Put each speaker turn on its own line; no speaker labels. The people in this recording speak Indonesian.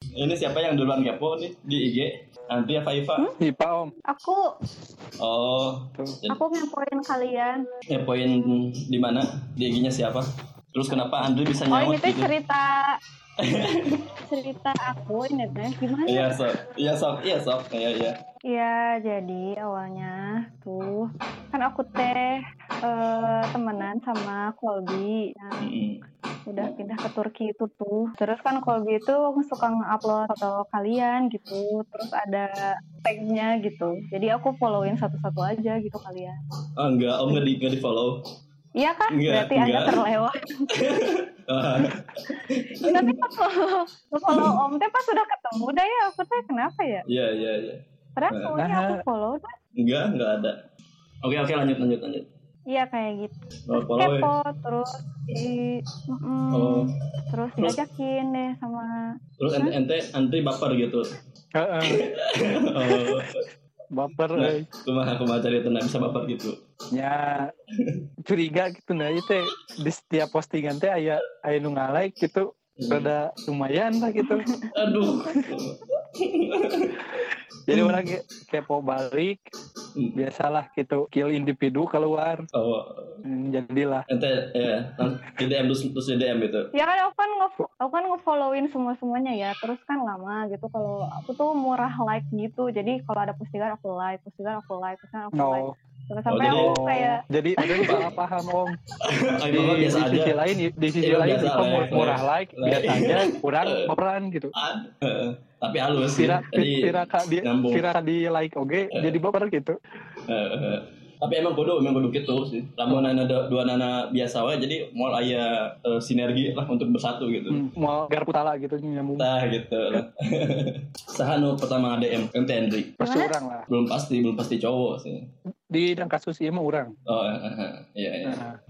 Ini siapa yang duluan kepo nih di IG? Nanti ya
Hmm?
Faifa.
IPA om.
Aku
Oh, jadi
aku ngepoin kalian.
kepoin di mana? Di IG-nya siapa? Terus kenapa Andri bisa
Oh ini
nyaut
tuh
gitu?
cerita cerita aku ini teh gimana?
Iya sob, iya sob, iya sob, iya iya.
Iya, jadi awalnya tuh kan aku teh eh, temenan sama Kolbi. Nah,
Mm-mm.
udah pindah ke Turki itu tuh. Terus kan Kolbi itu suka nge-upload foto kalian gitu. Terus ada tag-nya gitu. Jadi aku followin satu-satu aja gitu kalian.
Oh enggak, om nggak di nggak di follow.
Iya kah?
Enggak,
Berarti Anda
enggak.
terlewat.
Iya.
Tapi pas follow, follow Om teh pas sudah ketemu dah ya. Aku teh kenapa ya?
Iya iya iya.
Padahal semuanya aku follow dah.
Enggak, enggak ada. Oke oke lanjut lanjut lanjut.
Iya kayak gitu.
Oh,
terus
follow ya.
kepo terus di mm,
Oh.
terus diajakin deh sama
Terus ente ente, ente baper gitu.
Heeh.
Oh,
Baper.
nah,
euy.
kumaha kumaha cari tenang bisa baper gitu.
Ya curiga gitu nah itu teh di setiap postingan teh aya aya nu ngalike gitu rada lumayan lah gitu.
Aduh.
Jadi
Hmm.
orang ke- kepo balik biasalah gitu kill individu keluar
Oh,
Hmm, jadilah
ente ya, lang- di DM terus terus di DM gitu.
ya kan aku kan nge aku kan ngefollowin semua semuanya ya terus kan lama gitu kalau aku tuh murah like gitu jadi kalau ada postingan aku like postingan aku like postingan aku like
no
sampai sampai
Oh, jadi-
aku kayak
jadi jadi salah paham om
Oh,
di,
itu mah
di
biasa aja.
sisi lain di sisi
Itu
lain
biasa
itu
lah ya,
mur- murah like
Lah.
biasa aja kurang baperan gitu
Ad- Heeh. Tapi halus sih.
Tira,
Jadi,
tira ka di,
Iya, nyambung. Iya.
tira ka di like oke jadi baper gitu.
Heeh. eh, tapi emang kudu emang kudu gitu sih lamun nana dua nana biasa wae jadi moal aya eh, sinergi lah untuk bersatu gitu
Hmm, mau garputala gitu nyambung.
nah gitu lah saha nu pertama DM ente Andri
Pasti
Gimana?
orang lah.
belum pasti belum pasti cowok sih
Di dalam kasus ieu mah orang.
oh eh, eh, eh. iya iya
Nah,